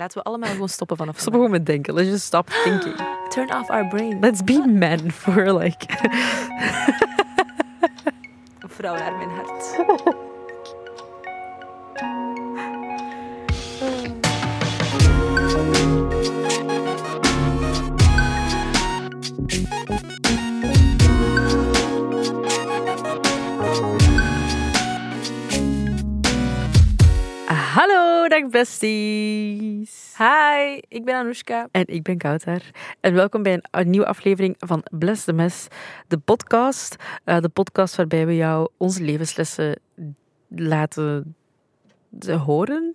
Laten we allemaal gewoon stoppen vanaf Stop gewoon met denken. Let's just stop thinking. vandaag. Turn off our brain. Let's be men for like... Vrouw naar mijn hart. Ah, Hallo, dag besties. Hi, ik ben Anoushka. En ik ben Kouter. En welkom bij een, een nieuwe aflevering van Bless the Mess, de podcast. Eh, de podcast waarbij we jou onze levenslessen laten ze horen.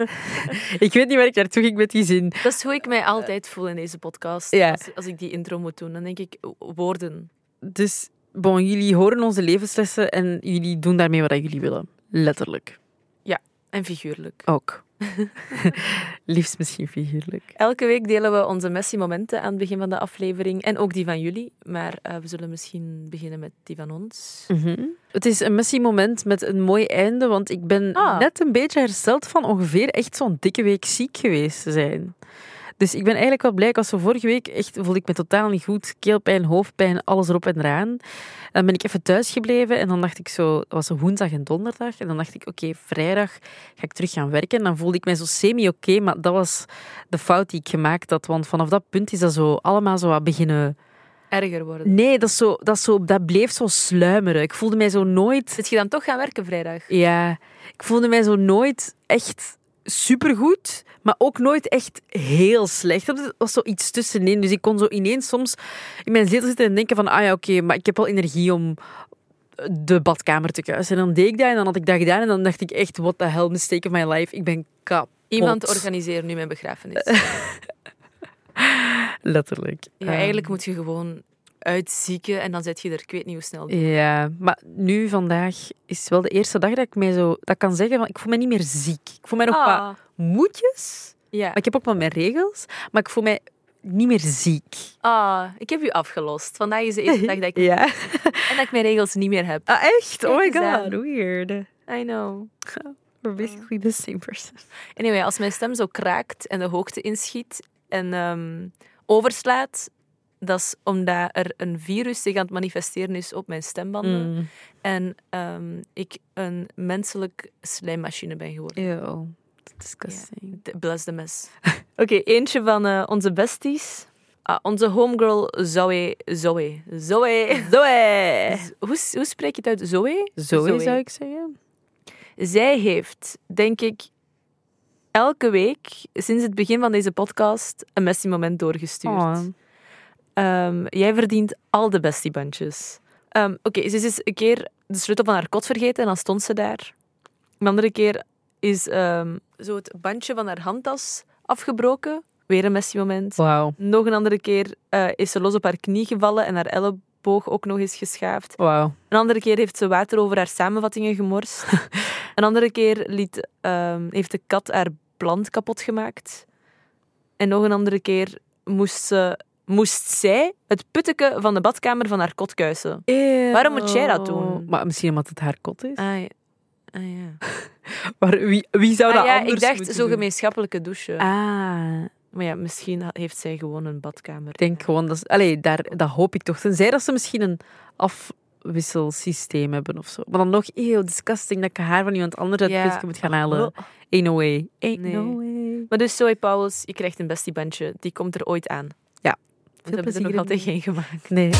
ik weet niet waar ik naartoe ging met die zin. Dat is hoe ik mij altijd voel in deze podcast. Ja. Als, als ik die intro moet doen, dan denk ik o- woorden. Dus, bon, jullie horen onze levenslessen en jullie doen daarmee wat jullie willen. Letterlijk. En figuurlijk. Ook. Liefst misschien figuurlijk. Elke week delen we onze messy momenten aan het begin van de aflevering. En ook die van jullie. Maar eh, we zullen misschien beginnen met die van ons. Mhm. Het is een messy moment met een mooi einde, want ik ben Ah. net een beetje hersteld van ongeveer echt zo'n dikke week ziek geweest te zijn. Dus ik ben eigenlijk wel blij. Ik was zo vorige week echt, voelde ik me totaal niet goed. Keelpijn, hoofdpijn, alles erop en eraan. Dan ben ik even thuis gebleven en dan dacht ik zo, dat was een woensdag en donderdag. En dan dacht ik, oké, vrijdag ga ik terug gaan werken. En dan voelde ik mij zo semi-oké, maar dat was de fout die ik gemaakt had. Want vanaf dat punt is dat zo allemaal zo wat beginnen... Erger worden. Nee, dat, is zo, dat, is zo, dat bleef zo sluimeren. Ik voelde mij zo nooit... Zit je dan toch gaan werken vrijdag? Ja, ik voelde mij zo nooit echt supergoed, maar ook nooit echt heel slecht. Dat was zo iets tussenin. Dus ik kon zo ineens soms in mijn zetel zitten en denken van... Ah ja, oké, maar ik heb wel energie om de badkamer te kuisen. En dan deed ik dat en dan had ik dat gedaan en dan dacht ik echt... What the hell, mistake of my life. Ik ben kapot. Iemand organiseert nu mijn begrafenis. Letterlijk. Ja, Ehm, eigenlijk moet je gewoon uitzieken en dan zet je er, ik weet niet hoe snel. Ja, maar nu vandaag is wel de eerste dag dat ik mij zo dat kan zeggen. Want ik voel me niet meer ziek. Ik voel mij nog wat Ah, moedjes. ja. Maar ik heb ook wel mijn regels. Maar ik voel mij niet meer ziek. Ah, ik heb u afgelost. Vandaag is de eerste dag dat ik, Ja. en dat ik mijn regels niet meer heb. Ah, echt? Kijk Oh my eens aan. god. Weird. I know. We're basically the same person. Anyway, als mijn stem zo kraakt en de hoogte inschiet en ehm, overslaat, dat is omdat er een virus zich aan het manifesteren is op mijn stembanden. Mm. En ehm, ik een menselijk slijmmachine ben geworden. Ew. Disgusting. De- Bless the mess. Oké, eentje van eh, onze besties. Ah, onze homegirl Zoe. Zoe. Zoe. Zoe! Z- Hoe, s- hoe spreek je het uit? Zoe? Zoe zou ik zeggen. Zij heeft, denk ik, elke week sinds het begin van deze podcast een messy moment doorgestuurd. Oh. Ehm, jij verdient al de bestie bandjes. Ehm, Oké, ze is eens een keer de sleutel van haar kot vergeten en dan stond ze daar. Een andere keer is ehm, zo het bandje van haar handtas afgebroken. Weer een messy moment. Wauw. Nog een andere keer eh, is ze los op haar knie gevallen en haar elleboog ook nog eens geschaafd. Wauw. Een andere keer heeft ze water over haar samenvattingen gemorst. een andere keer liet, ehm, heeft de kat haar plant kapot gemaakt. En nog een andere keer moest, ze, moest zij het putteken van de badkamer van haar kot kuisen. Waarom moet jij dat doen? Maar misschien omdat het haar kot is. Ah, ja. Ah, ja. Ah, Maar wie, wie zou dat anders ik dacht moeten zo'n doen? gemeenschappelijke douche. Ah. Maar ja, misschien ha- heeft zij gewoon een badkamer. Ik denk gewoon dat ze, allee, daar, dat hoop ik toch. Tenzij dat ze misschien een afwisselsysteem hebben of zo. Maar dan nog heel disgusting dat ik haar van iemand anders uit Ja. het putje moet gaan halen. Ain't no way. Ain't Nee. no way. Maar dus, Zoe Pauwels, je krijgt een bestiebandje. Die komt er ooit aan. Ja. We hebben er plezier nog in. altijd geen gemaakt. Nee.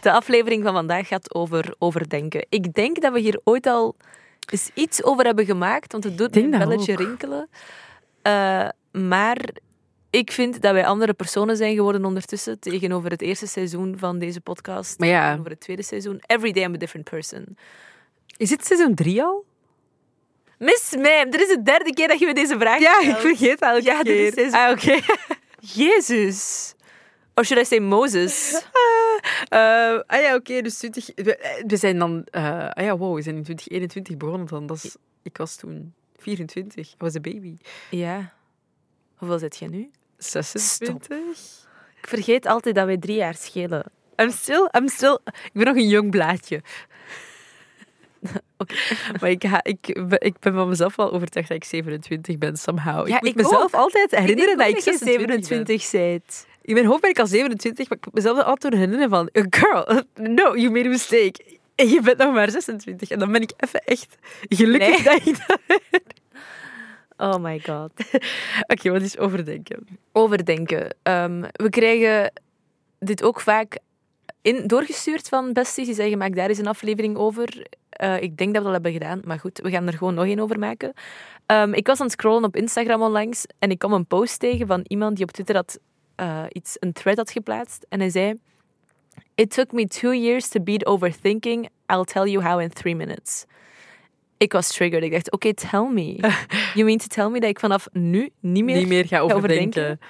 De aflevering van vandaag gaat over overdenken. Ik denk dat we hier ooit al eens iets over hebben gemaakt, want het doet denk me een dat belletje ook. rinkelen. Eh, maar ik vind dat wij andere personen zijn geworden ondertussen tegenover het eerste seizoen van deze podcast. Maar ja. Tegenover het tweede seizoen. Every day I'm a different person. Is dit seizoen 3 al? Miss Mam, dit is de derde keer dat je me deze vraag stelt. vergeet elke Ja, dit is seizoen- Ah, oké. Jezus. Or should I say Moses? Eh, ah ja, oké. dus 20... We, eh, we zijn dan... eh, ah ja, wow. We zijn in 2021 begonnen dan. Dat is, ik was toen 24. Ik was een baby. ja. Hoeveel zit jij nu? 26? Ik vergeet altijd dat wij drie jaar schelen. I'm still, I'm still... Ik ben nog een jong blaadje. Maar ik, ha- ik, ben- ik ben van mezelf wel overtuigd dat ik 27 ben, somehow. ja, moet Oh, ik mezelf altijd herinneren ook dat ik dat je geen 27 27 bent. In mijn hoofd ben ik al 27, maar ik moet mezelf dat altijd door herinneren van... "Eh, Girl, no, you made a mistake. En je bent nog maar 26. En dan ben ik even echt gelukkig dat ik dat... Oh my god. Oké, wat is overdenken? Overdenken. Ehm, we krijgen dit ook vaak in, doorgestuurd van besties. Die zeggen, maak daar eens een aflevering over. Eh, ik denk dat we dat hebben gedaan, maar goed, we gaan er gewoon nog één over maken. Ehm, ik was aan het scrollen op Instagram onlangs en ik kwam een post tegen van iemand die op Twitter had, eh, iets, een thread had geplaatst. En hij zei, It took me two years to beat overthinking. I'll tell you how in three minutes. Ik was triggered. Ik dacht, oké, tell me. You mean to tell me dat ik vanaf nu niet meer Niet meer gaan ga overdenken.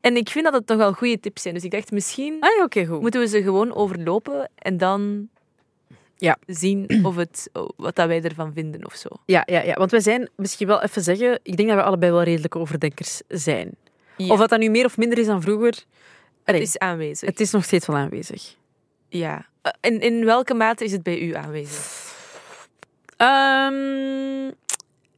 En ik vind dat het toch wel goede tips zijn. Dus ik dacht, misschien Ah ja, oké, goed. moeten we ze gewoon overlopen en dan Ja. zien of het, oh, wat dat wij ervan vinden of zo. Ja, ja, ja, want wij zijn, misschien wel even zeggen, ik denk dat we allebei wel redelijke overdenkers zijn. Ja. Of dat dat nu meer of minder is dan vroeger, Het allee, is aanwezig. het is nog steeds wel aanwezig. Ja. Eh, In, in welke mate is het bij u aanwezig? Ehm,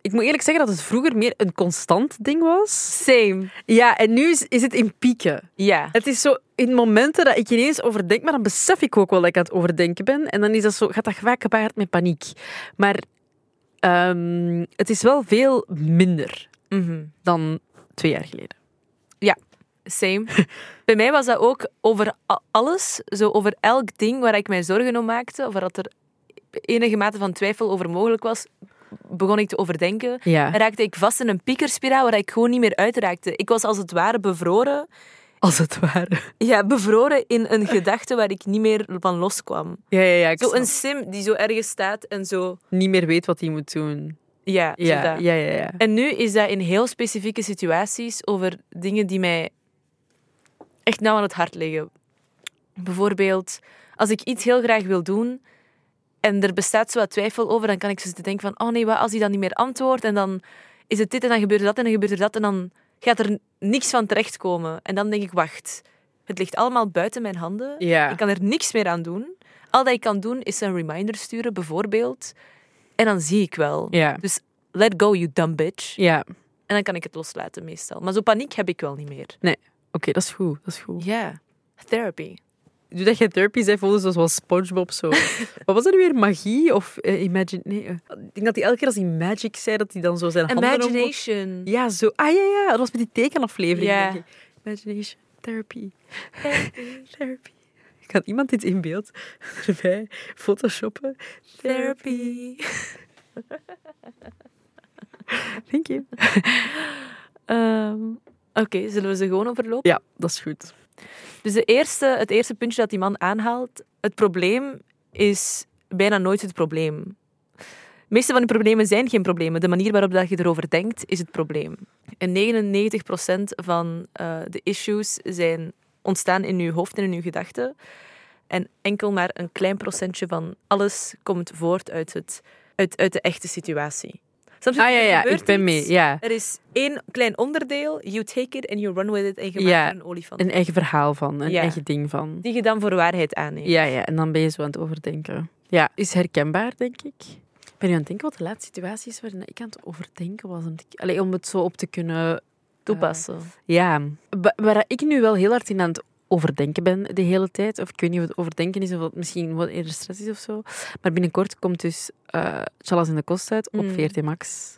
ik moet eerlijk zeggen dat het vroeger meer een constant ding was. Same. Ja, en nu is, is het in pieken. Ja. Het is zo in momenten dat ik ineens overdenk, maar dan besef ik ook wel dat ik aan het overdenken ben. En dan is dat zo, gaat dat vaak gepaard met paniek. Maar ehm, het is wel veel minder Mhm. dan twee jaar geleden. Same. Bij mij was dat ook over a- alles, zo over elk ding waar ik mij zorgen om maakte, of waar dat er enige mate van twijfel over mogelijk was, begon ik te overdenken. Ja. En raakte ik vast in een piekerspiraal waar ik gewoon niet meer uitraakte. Ik was als het ware bevroren. Als het ware. Ja, bevroren in een gedachte waar ik niet meer van loskwam. Ja, ja, ja. Ik Zo snap. een sim die zo ergens staat en zo... niet meer weet wat hij moet doen. Ja, zo Ja, dat. ja, ja. ja. En nu is dat in heel specifieke situaties over dingen die mij echt nauw aan het hart liggen. Bijvoorbeeld, als ik iets heel graag wil doen en er bestaat zo wat twijfel over, dan kan ik zo zitten denken van, oh nee, wat als hij dan niet meer antwoordt en dan is het dit en dan gebeurt er dat en dan gebeurt er dat en dan gaat er niks van terechtkomen. En dan denk ik, wacht, het ligt allemaal buiten mijn handen. Ja. Ik kan er niks meer aan doen. Al dat ik kan doen is een reminder sturen, bijvoorbeeld. En dan zie ik wel. Ja. Dus let go, you dumb bitch. Ja. Oké, En dan kan ik het loslaten meestal. Maar zo paniek heb ik wel niet meer. dat is goed. Dat is goed. Ja, therapy. Doe dat je therapie zei, voelde zoals wel SpongeBob zo. Wat was dat nu weer? Magie of eh, imagine? Nee, eh, ik denk dat hij elke keer als hij magic zei, dat hij dan zo zijn handen omhoog- Imagination. Ja, zo. Ah ja, ja. Dat was met die tekenaflevering. Ja. denk ik. Imagination, therapy, therapy. Kan iemand dit in beeld erbij photoshoppen? Therapy. Thank you. Ehm, Oké, zullen we ze gewoon overlopen? Ja, dat is goed. Dus de eerste, het eerste puntje dat die man aanhaalt, het probleem is bijna nooit het probleem. De meeste van de problemen zijn geen problemen. De manier waarop dat je erover denkt, is het probleem. En 99% van eh, de issues zijn ontstaan in je hoofd en in je gedachten. En enkel maar een klein procentje van alles komt voort uit, het, uit, uit de echte situatie. Soms Ah ja, ja. gebeurt Ik ben iets, mee. Ja. Er is één klein onderdeel, you take it and you run with it, en je maakt Ja. er een olifant. Een eigen verhaal van. Een Ja. eigen ding van. Die je dan voor waarheid aanneemt. Ja, ja, en dan ben je zo aan het overdenken. Ja, is herkenbaar, denk ik. Ik ben nu aan het denken wat de laatste situatie is waarin ik aan het overdenken was. Om, te- Allee, om het zo op te kunnen... Toepassen. Ja. Wa- Waar ik nu wel heel hard in aan het overdenken ben de hele tijd. Of ik weet niet of het overdenken is of het misschien wat eerder stress is of zo. Maar binnenkort komt dus eh Chalas in de Kost uit op Mm. VRT Max.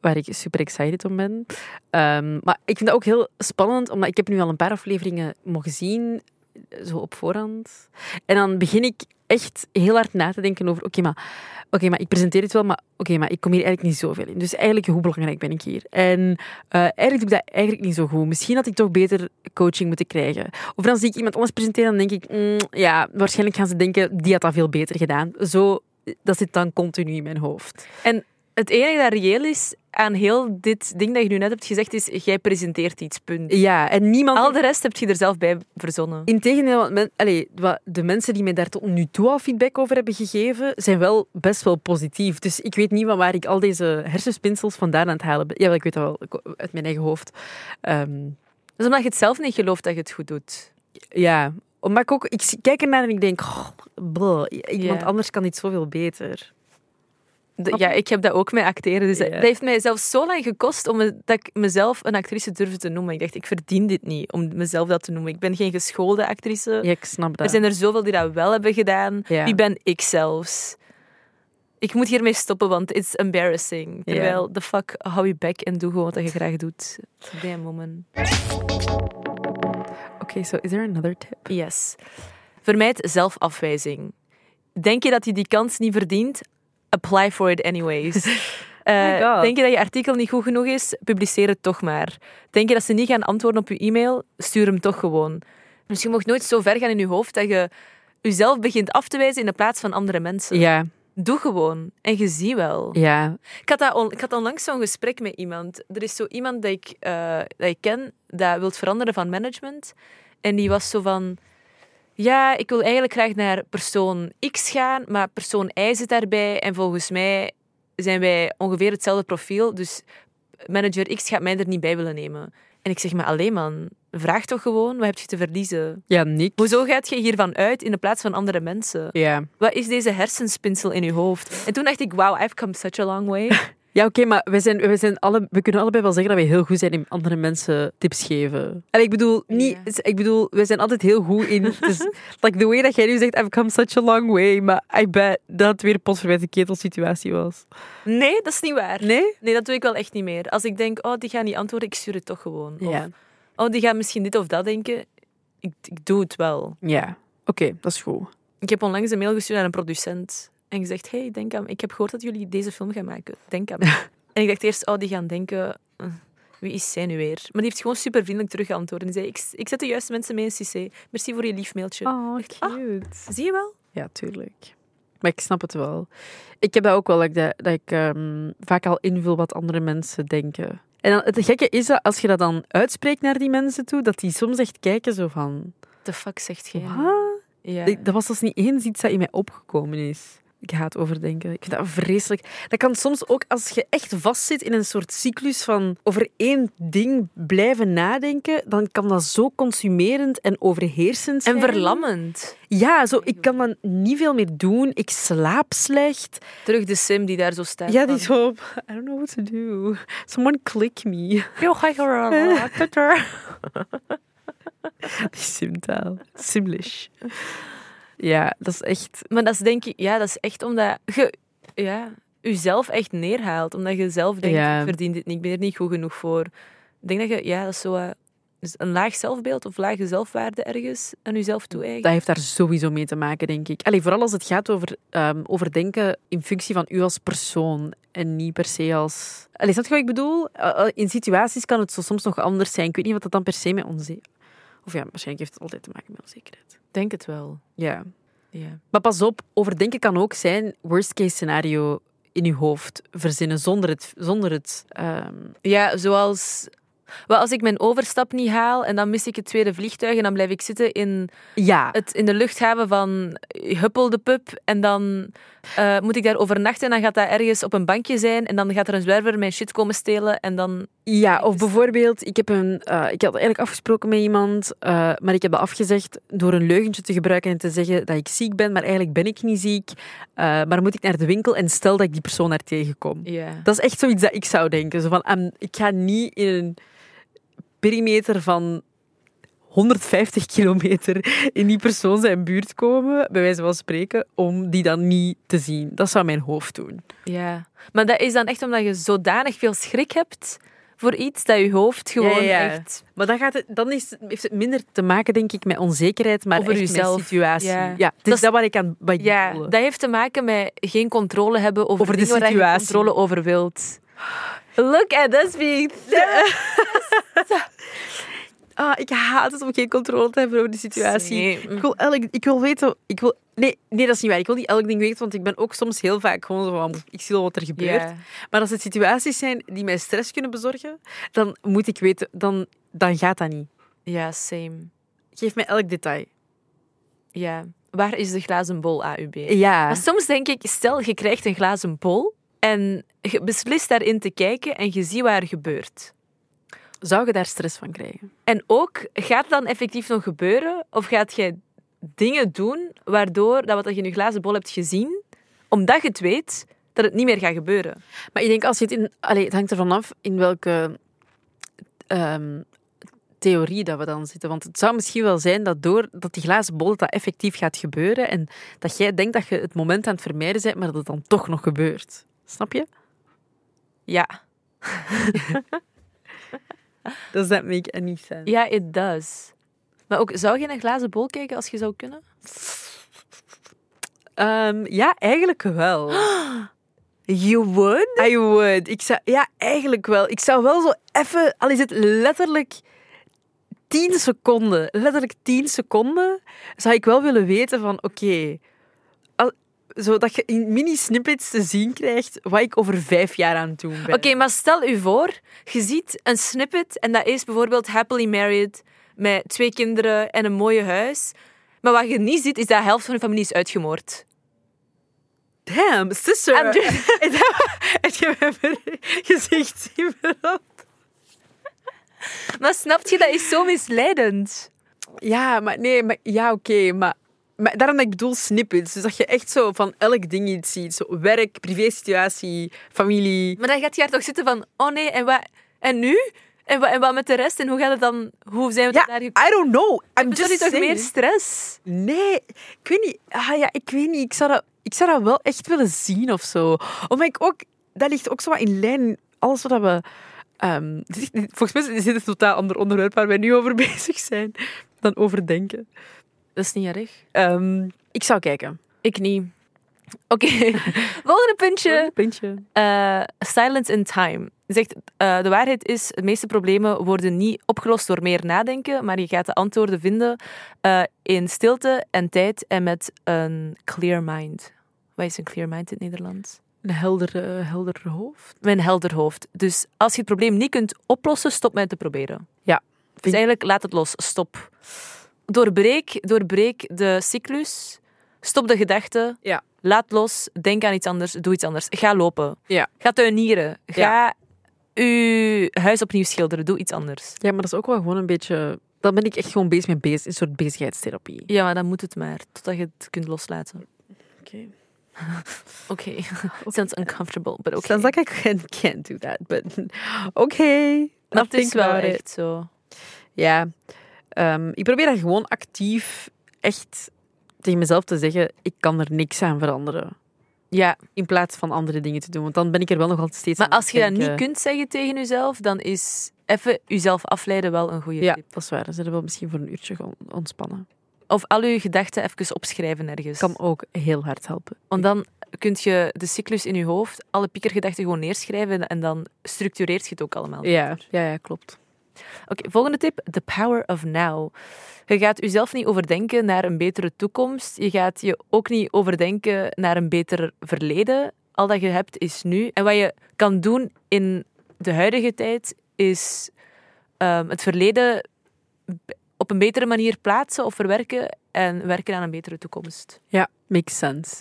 Waar ik super excited om ben. Ehm, maar ik vind dat ook heel spannend, omdat ik heb nu al een paar afleveringen mogen zien, eh, zo op voorhand. En dan begin ik echt heel hard na te denken over, oké, maar, oké, maar ik presenteer dit wel, maar oké, maar ik kom hier eigenlijk niet zoveel in. Dus eigenlijk, hoe belangrijk ben ik hier? En eh, eigenlijk doe ik dat eigenlijk niet zo goed. Misschien had ik toch beter coaching moeten krijgen. Of dan zie ik iemand anders presenteren en dan denk ik, mm, ja, waarschijnlijk gaan ze denken, die had dat veel beter gedaan. Zo, dat zit dan continu in mijn hoofd. Het enige dat reëel is aan heel dit ding dat je nu net hebt gezegd, is jij presenteert iets, punt. Ja, en niemand... Al de rest heb je er zelf bij verzonnen. Integendeel, want men- allee, wa- de mensen die mij daar tot nu toe al feedback over hebben gegeven, zijn wel best wel positief. Dus ik weet niet van waar ik al deze hersenspinsels vandaan aan het halen ben. Jawel, ik weet dat wel, ik- uit mijn eigen hoofd. Ehm, Dat is Dus omdat je het zelf niet gelooft dat je het goed doet. ja, maar ik, ook, ik zie- kijk ernaar en ik denk, "Goh, bleh, iemand Ja. anders kan dit zoveel beter. de- ja, ik heb dat ook met acteren. Dus dat- Ja. dat heeft mij zelfs zo lang gekost om me- dat ik mezelf een actrice durfde te noemen. Ik dacht, ik verdien dit niet om mezelf dat te noemen. Ik ben geen geschoolde actrice. Ja, ik snap Er dat. zijn er zoveel die dat wel hebben gedaan. Ja. Wie ben ik zelfs? Ik moet hiermee stoppen, want it's embarrassing. Ja. Terwijl, the fuck, hou je bek en doe gewoon wat je graag doet. Damn, woman. Oké, so is there another tip? Yes. Vermijd zelfafwijzing. Denk je dat je die kans niet verdient? Apply for it anyways. Eh, Oh my God. denk je dat je artikel niet goed genoeg is? Publiceer het toch maar. Denk je dat ze niet gaan antwoorden op je e-mail? Stuur hem toch gewoon. Dus je mag nooit zo ver gaan in je hoofd dat je jezelf begint af te wijzen in de plaats van andere mensen. Ja, Doe gewoon. En je ziet wel. ja. Ik had, dat on- ik had onlangs zo'n gesprek met iemand. Er is zo iemand dat ik, eh, dat ik ken dat wil veranderen van management. En die was zo van... Ja, ik wil eigenlijk graag naar persoon X gaan, maar persoon Y zit daarbij. En volgens mij zijn wij ongeveer hetzelfde profiel. Dus manager X gaat mij er niet bij willen nemen. En ik zeg maar, alleen man, vraag toch gewoon, wat heb je te verliezen? Ja, niks. Hoezo gaat je hiervan uit in de plaats van andere mensen? Ja, Wat is deze hersenspinsel in je hoofd? En toen dacht ik, wow, I've come such a long way. ja oké, maar wij zijn, wij zijn alle, we kunnen allebei wel zeggen dat we heel goed zijn in andere mensen tips geven. En ik bedoel, niet, ik bedoel, wij zijn altijd heel goed in... Dus, like, the way dat jij nu zegt, I've come such a long way, maar I bet dat het weer een potverwijte ketelsituatie was. Nee, dat is niet waar. Nee? Nee, dat doe ik wel echt niet meer. Als ik denk, oh, die gaan niet antwoorden, ik stuur het toch gewoon. Ja. Of, oh, die gaan misschien dit of dat denken. Ik, ik doe het wel. Ja. Oké, dat is goed. Ik heb onlangs een mail gestuurd naar een producent. En gezegd, hey, denk aan, ik heb gehoord dat jullie deze film gaan maken. Denk aan me. en ik dacht eerst, oh, die gaan denken, eh, wie is zij nu weer? Maar die heeft gewoon super vriendelijk teruggeantwoord. En zei, ik, ik zet de juiste mensen mee in CC. Merci voor je lief mailtje. Oh, cute. Zie je wel? Ja, tuurlijk. Maar ik snap het wel. Ik heb dat ook wel, dat ik, dat, dat ik ehm, vaak al invul wat andere mensen denken. En dan, het gekke is dat als je dat dan uitspreekt naar die mensen toe, dat die soms echt kijken zo van... De fuck zegt geen. "Wat?" Ja. Ik- Dat was dus niet eens iets dat in mij opgekomen is. Ik haat overdenken. Ik vind dat vreselijk. Dat kan soms ook als je echt vastzit in een soort cyclus van over één ding blijven nadenken, dan kan dat zo consumerend en overheersend zijn. En verlammend. Ja, zo, ik kan dan niet veel meer doen. Ik slaap slecht. Terug de sim die daar zo staat. Ja, die zo. op, I don't know what to do. Someone click me. Yo, ga je Die simtaal. Simlish. Ja, dat is echt. Maar dat is denk ik, ja, dat is echt omdat je ja, jezelf echt neerhaalt. Omdat je zelf denkt, Ja. ik verdien dit niet, ik ben er niet goed genoeg voor. Ik denk dat je, ja, dat is zo eh, dus een laag zelfbeeld of lage zelfwaarde ergens aan jezelf toe eigent. Dat heeft daar sowieso mee te maken, denk ik. Allee, vooral als het gaat over ehm, overdenken in functie van u als persoon en niet per se als. Allee, snap je wat ik bedoel? Eh, eh, in situaties kan het zo soms nog anders zijn. Ik weet niet wat dat dan per se met onzekerheid. Of ja, waarschijnlijk heeft het altijd te maken met onzekerheid. Ik denk het wel. Ja. Ja. Maar pas op, overdenken kan ook zijn worst case scenario in je hoofd verzinnen zonder het. Zonder het ehm, ja, zoals... Wel, als ik mijn overstap niet haal en dan mis ik het tweede vliegtuig en dan blijf ik zitten in, ja, het, in de luchthaven van eh, Huppel de Pup en dan eh, moet ik daar overnachten en dan gaat dat ergens op een bankje zijn en dan gaat er een zwerver mijn shit komen stelen en dan... ja, of is- bijvoorbeeld, ik, heb een, eh, ik had eigenlijk afgesproken met iemand, eh, maar ik heb dat afgezegd door een leugentje te gebruiken en te zeggen dat ik ziek ben, maar eigenlijk ben ik niet ziek. Eh, maar moet ik naar de winkel en stel dat ik die persoon daar tegenkom. Ja. Dat is echt zoiets dat ik zou denken. Zo van, ehm, ik ga niet in een perimeter van 150 kilometer in die persoon zijn buurt komen, bij wijze van spreken, om die dan niet te zien. Dat zou mijn hoofd doen. Ja, maar dat is dan echt omdat je zodanig veel schrik hebt voor iets dat je hoofd gewoon Ja, ja, ja. echt. Maar dan, gaat het, dan is, heeft het minder te maken, denk ik, met onzekerheid, maar Over echt uzelf. met situatie. Ja. Ja. het is Dat is- dat, wat ik aan wat ik Ja, bedoel. dat heeft te maken met geen controle hebben over, Over de dingen waar je situatie. controle over wilt. Look at us being. Ah, ik haat het om geen controle te hebben over de situatie. Nee. Ik wil elk, ik wil weten, ik wil, nee, nee, dat is niet waar. Ik wil niet elk ding weten, want ik ben ook soms heel vaak gewoon zo van, ik zie wel wat er gebeurt. Ja. Maar als het situaties zijn die mij stress kunnen bezorgen, dan moet ik weten, dan, dan gaat dat niet. ja, same. Geef mij elk detail. Ja. Waar is de glazen bol, AUB? Ja. Maar soms denk ik, stel je krijgt een glazen bol en je beslist daarin te kijken en je ziet wat er gebeurt. Zou je daar stress van krijgen? En ook, gaat het dan effectief nog gebeuren? Of gaat jij dingen doen waardoor dat wat je in je glazen bol hebt gezien, omdat je het weet, dat het niet meer gaat gebeuren. Maar ik denk als je het in. Allee, het hangt ervan af in welke ehm, theorie dat we dan zitten. Want het zou misschien wel zijn dat door dat die glazen bol dat, dat effectief gaat gebeuren. En dat jij denkt dat je het moment aan het vermijden bent, maar dat het dan toch nog gebeurt. Snap je? Ja. Does that make any sense? Ja, it does. Maar ook, zou je in een glazen bol kijken als je zou kunnen? Ehm, ja, eigenlijk wel. You would? I would. Ik zou, ja, eigenlijk wel. Ik zou wel zo even, al is het letterlijk 10 seconden, letterlijk 10 seconden, zou ik wel willen weten van, oké, al- zodat je in mini-snippets te zien krijgt wat ik over vijf jaar aan het doen ben. Oké, maar stel u voor, je ziet een snippet en dat is bijvoorbeeld happily married met twee kinderen en een mooie huis. Maar wat je niet ziet, is dat de helft van je familie is uitgemoord. Damn, sister. I'm just- Het het je mijn gezicht zien veranderen? Maar snap je, dat is zo misleidend. Ja, maar nee, maar, ja, oké, maar, maar daarom dat ik bedoel snippets. Dus dat je echt zo van elk ding iets ziet. Zo werk, privésituatie, familie. Maar dan gaat je daar toch zitten van, oh nee, en wat, en nu? En wat, en wat met de rest? En hoe gaat het dan, hoe zijn we tot Ja, daar gekomen? I don't know. I'm Is dat just niet toch saying. meer stress? Nee, ik weet niet. Ah ja, ik weet niet. Ik zou dat, ik zou dat wel echt willen zien of zo. Omdat ik ook... Dat ligt ook zo wat in lijn met alles wat we... ehm, dit is- dit- volgens mij is dit een totaal ander onderwerp waar wij nu over bezig zijn dan overdenken. Dat is niet erg. Ehm, ik zou kijken. Ik niet. Oké, volgende puntje. Een puntje. Eh, silence in Time zegt: eh, De waarheid is, de meeste problemen worden niet opgelost door meer nadenken, maar je gaat de antwoorden vinden eh, in stilte en tijd en met een clear mind. Wat is een clear mind in het Nederlands? Een helder, eh, helder hoofd. Mijn helder hoofd. Dus als je het probleem niet kunt oplossen, stop met te proberen. Ja. Dus eigenlijk laat het los, stop. Doorbreek, doorbreek de cyclus, stop de gedachten, Ja. laat los, denk aan iets anders, doe iets anders. Ga lopen, Ja. ga tuinieren, ga uw huis opnieuw schilderen, doe iets anders. Ja, maar dat is ook wel gewoon een beetje... Dan ben ik echt gewoon bezig met bezig, een soort bezigheidstherapie. Ja, maar dan moet het maar, totdat je het kunt loslaten. Oké. Oké, sounds uncomfortable, but oké. Sounds like I can, can't do that, but oké. Maar I'll het is think wel about it. echt zo. Ja. Ehm, ik probeer dat gewoon actief echt tegen mezelf te zeggen, ik kan er niks aan veranderen. Ja, In plaats van andere dingen te doen, want dan ben ik er wel nog altijd steeds Maar aan als je dat het niet denken. kunt zeggen tegen jezelf, dan is even jezelf afleiden wel een goede Ja, tip. dat is waar. Dan zijn we wel misschien voor een uurtje gaan ontspannen. Of al je gedachten even opschrijven ergens. Kan ook heel hard helpen. Want dan kun je de cyclus in je hoofd, alle piekergedachten gewoon neerschrijven en dan structureert je het ook allemaal. Ja, ja, ja klopt. Oké, volgende tip. The power of now. Je gaat jezelf niet overdenken naar een betere toekomst. Je gaat je ook niet overdenken naar een beter verleden. Al dat je hebt is nu. En wat je kan doen in de huidige tijd is ehm, het verleden b- op een betere manier plaatsen of verwerken en werken aan een betere toekomst. Ja, makes sense.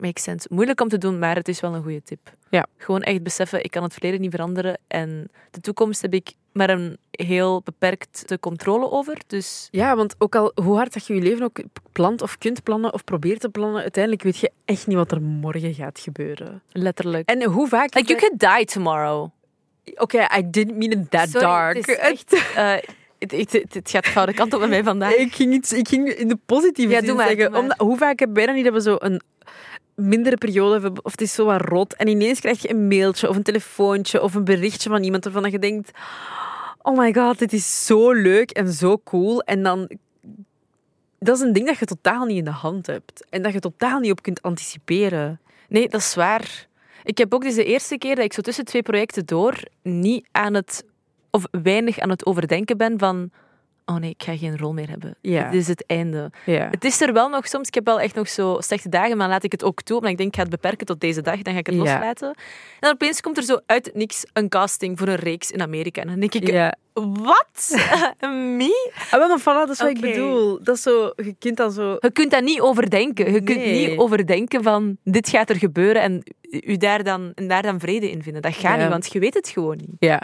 Makes sense. Moeilijk om te doen, maar het is wel een goede tip. Ja. Gewoon echt beseffen, ik kan het verleden niet veranderen en de toekomst heb ik maar een heel beperkte controle over. Dus Ja, want ook al hoe hard dat je je leven ook plant of kunt plannen of probeert te plannen, uiteindelijk weet je echt niet wat er morgen gaat gebeuren. letterlijk. En hoe vaak... like, you could die tomorrow. Oké, I didn't mean it that Sorry, dark. Het, is echt, eh, het, het, het- het gaat de foute kant op met mij vandaag. Ik ging, iets, ik ging in de positieve Ja, zin doe maar, zeggen. doe maar. Omdat, hoe vaak hebben wij dan niet dat we zo een mindere periode hebben, of het is zo wat rot, en ineens krijg je een mailtje of een telefoontje of een berichtje van iemand waarvan je denkt, oh my god, dit is zo leuk en zo cool. En dan, dat is een ding dat je totaal niet in de hand hebt. En dat je totaal niet op kunt anticiperen. Nee, dat is waar. Ik heb ook deze eerste keer dat ik zo tussen twee projecten door niet aan het, of weinig aan het overdenken ben van, oh nee, ik ga geen rol meer hebben. Ja. Dit is het einde. Ja. Het is er wel nog soms. Ik heb wel echt nog zo slechte dagen, maar laat ik het ook toe. Omdat ik denk, ik ga het beperken tot deze dag, dan ga ik het Ja. loslaten. En dan opeens komt er zo uit het niks een casting voor een reeks in Amerika. En dan denk ik, Ja. wat? Me? Ah, wel, maar voilà, dat is wat Oké. ik bedoel. Dat is zo, je kunt dan zo Je kunt dat niet overdenken. Je kunt Nee. niet overdenken van, dit gaat er gebeuren en u daar dan, en daar dan vrede in vinden. Dat gaat Ja. niet, want je weet het gewoon niet. Ja,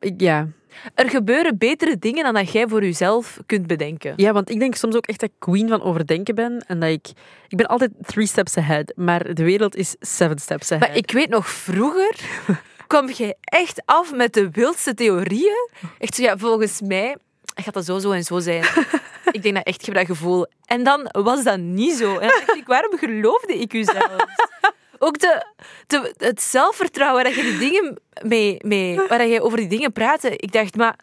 ik- ja. Er gebeuren betere dingen dan dat jij voor jezelf kunt bedenken. Ja, want ik denk soms ook echt dat ik queen van overdenken ben. En dat ik... Ik ben altijd three steps ahead, maar de wereld is seven steps ahead. Maar ik weet nog vroeger kwam jij echt af met de wildste theorieën. Echt zo, ja, volgens mij gaat dat zo, zo en zo zijn. ik denk dat echt je dat gevoel. En dan was dat niet zo. En dan dacht ik, waarom geloofde ik u zelf? Ook de, de- het zelfvertrouwen waar je die dingen mee, mee, waar je over die dingen praatte. Ik dacht, maar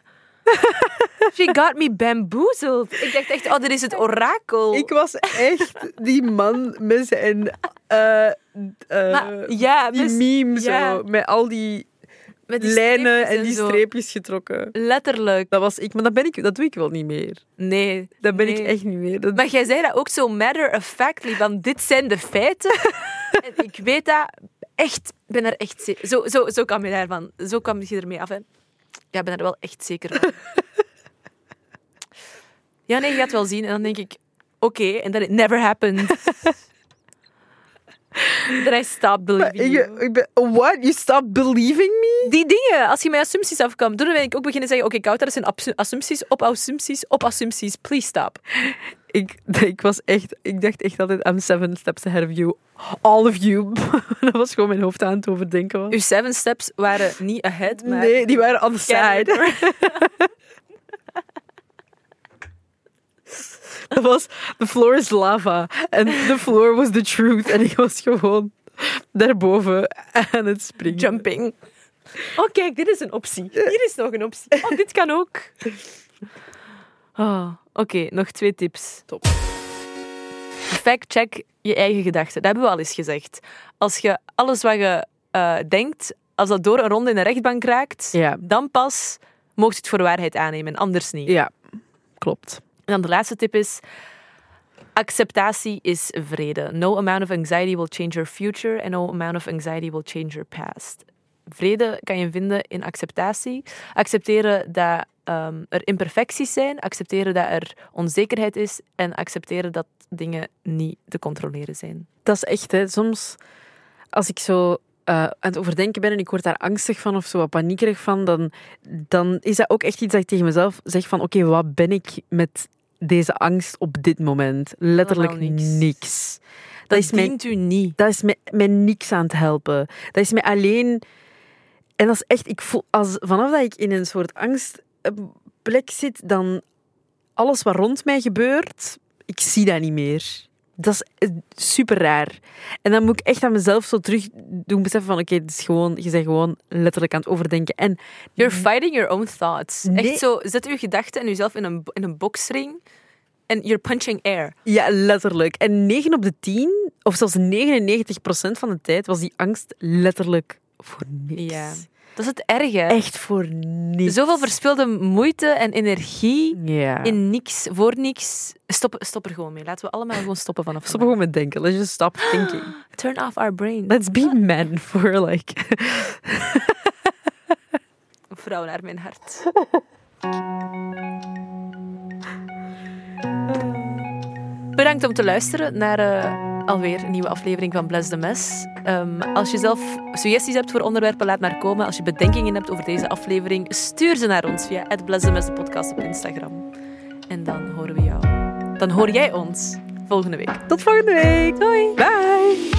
she got me bamboozled. Ik dacht echt, oh, dit is het orakel. Ik was echt die man met zijn... eh, eh, maar, ja, die dus meme ja. zo, met al die, met die lijnen streepjes en die zo. streepjes getrokken. Letterlijk. Dat was ik, maar dat, ben ik, dat doe ik wel niet meer. Nee. Dat ben ik nee. echt niet meer. Dat, Maar jij zei dat ook zo matter of factly, van dit zijn de feiten. en ik weet dat echt, ik ben er echt zeker. Zo, zo, zo kwam je daarvan, zo kwam je ermee af. Hè. Ja, ik ben er wel echt zeker van. ja, nee, je gaat wel zien. En dan denk ik, oké, en dan it never happened. Then I stop maar believing ik, you. ik ben, what? You stop believing me? Die dingen, als je met assumpties afkomt, dan ben ik ook beginnen zeggen, oké, Kouter, dat zijn absu- assumpties op assumpties op assumpties. Please stop. Ik, ik, was echt, ik dacht echt altijd, I'm seven steps ahead of you. All of you. dat was gewoon mijn hoofd aan het overdenken. Was. Uw seven steps waren niet ahead, maar... Nee, die waren on the Side. side. Dat was, the floor is lava. En the floor was the truth. En ik was gewoon daarboven aan het springen. Jumping. Oh, kijk, dit is een optie. Hier is nog een optie. Oh, dit kan ook. Oh, Oké, nog twee tips. Top. Fact-check je eigen gedachten. Dat hebben we al eens gezegd. Als je alles wat je eh, denkt, als dat door een ronde in de rechtbank raakt, Ja. dan pas mocht je het voor waarheid aannemen, anders niet. Ja, klopt. En dan de laatste tip is: acceptatie is vrede. No amount of anxiety will change your future and no amount of anxiety will change your past. Vrede kan je vinden in acceptatie. Accepteren dat ehm, er imperfecties zijn, accepteren dat er onzekerheid is en accepteren dat dingen niet te controleren zijn. Dat is echt, hè. Soms als ik zo eh, aan het overdenken ben en ik word daar angstig van of zo wat paniekerig van, dan, dan is dat ook echt iets dat ik tegen mezelf zeg van oké, wat ben ik met deze angst op dit moment? Letterlijk Helemaal niks. niks. Dat, Dat is mijn, dient u niet. dat is mij, mij niks aan het helpen. Dat is mij alleen... En dat is echt, ik voel, als, vanaf dat ik in een soort angstplek zit, dan alles wat rond mij gebeurt, ik zie dat niet meer. Dat is eh, super raar. En dan moet ik echt aan mezelf zo terug doen beseffen van, oké, het is gewoon, je bent gewoon letterlijk aan het overdenken. En You're fighting your own thoughts. Nee. Echt zo, zet uw gedachten en uzelf in een, in een boxring en you're punching air. ja, letterlijk. En 9 op de 10, of zelfs 99 van de tijd, was die angst letterlijk voor niks. Ja. Dat is het erge. hè. Echt voor niks. Zoveel verspilde moeite en energie Ja. in niks, voor niks. Stop, stop er gewoon mee. Laten we allemaal gewoon stoppen vanaf Stop gewoon met denken. Let's just stop thinking. vandaag. Turn off our brain. Let's be men for like... Een vrouw naar mijn hart. Bedankt om te luisteren naar eh, alweer een nieuwe aflevering van Bless the Mess. Ehm, als je zelf suggesties hebt voor onderwerpen, laat maar komen. Als je bedenkingen hebt over deze aflevering, stuur ze naar ons via het Bless the Mess, de podcast op Instagram. En dan horen we jou. Dan hoor jij ons volgende week. Tot volgende week. Doei! Bye.